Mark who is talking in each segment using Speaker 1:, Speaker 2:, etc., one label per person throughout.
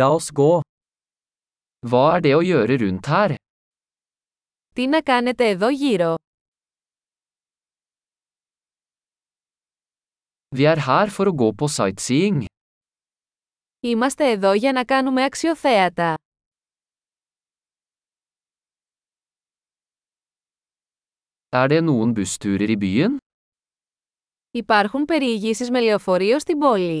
Speaker 1: La oss gå. Hva er det å gjøre rundt her?
Speaker 2: Τι να κάνετε εδώ γύρω.
Speaker 1: Vi er her for å gå på sightseeing.
Speaker 2: Είμαστε εδώ για να κάνουμε αξιοθέατα.
Speaker 1: Er det noen bussturer i byen?
Speaker 2: Υπάρχουν περιηγήσεις με λεωφορείο στην πόλη.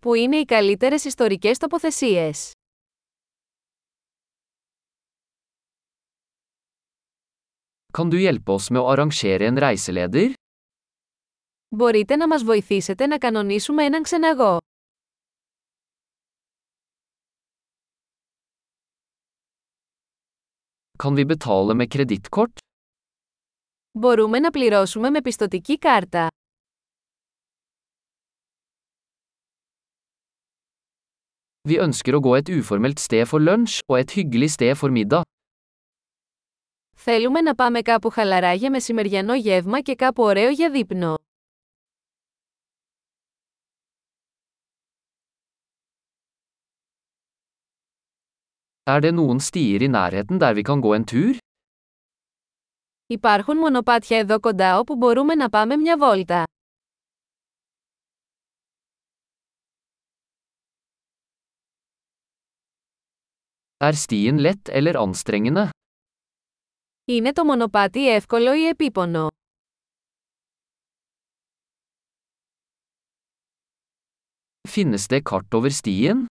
Speaker 2: Πού είναι οι καλύτερες ιστορικές τοποθεσίες.
Speaker 1: Kan du hjelpe oss med å arrangere en reiseleder?
Speaker 2: Μπορείτε να μας βοηθήσετε να κανονίσουμε έναν ξεναγό.
Speaker 1: Kan vi betale med kredittkort?
Speaker 2: Μπορούμε να πληρώσουμε με πιστοτική κάρτα.
Speaker 1: Vi ønsker å gå et uformelt sted for lunsj og et hyggelig sted for middag.
Speaker 2: Θέλουμε να πάμε κάπου χαλαρά για μεσημεριανό γεύμα και κάπου ωραίο για δείπνο.
Speaker 1: Er det noen stier i nærheten der vi kan gå en tur?
Speaker 2: Υπάρχουν μονοπάτια εδώ κοντά όπου μπορούμε να πάμε μια βόλτα.
Speaker 1: Er stien lett eller anstrengende?
Speaker 2: Είναι το μονοπάτι εύκολο ή επίπονο.
Speaker 1: Finnes det kart over stien?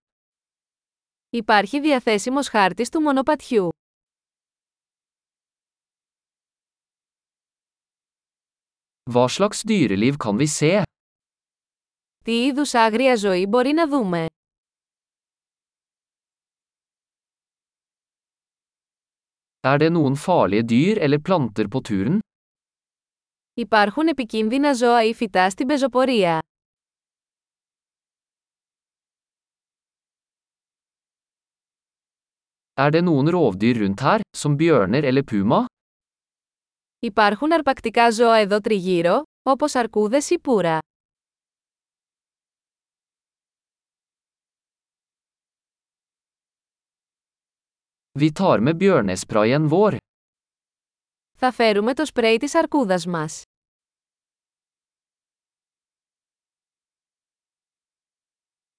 Speaker 2: Υπάρχει διαθέσιμος χάρτης του μονοπατιού.
Speaker 1: Hva slags dyreliv kan vi se?
Speaker 2: Τι είδους άγρια ζωή μπορεί να δούμε.
Speaker 1: Er det noen farlige dyr eller planter på turen?
Speaker 2: Υπάρχουν επικίνδυνα ζώα ή φυτά στην πεζοπορία.
Speaker 1: Er det noen rovdyr rundt her, som bjørner eller puma?
Speaker 2: Υπάρχουν αρπακτικά ζώα εδώ τριγύρω, όπως αρκούδες ή πουρα.
Speaker 1: Vi tar med bjørnesprayen vår.
Speaker 2: Θα φέρουμε το σπρέι της αρκούδας μας.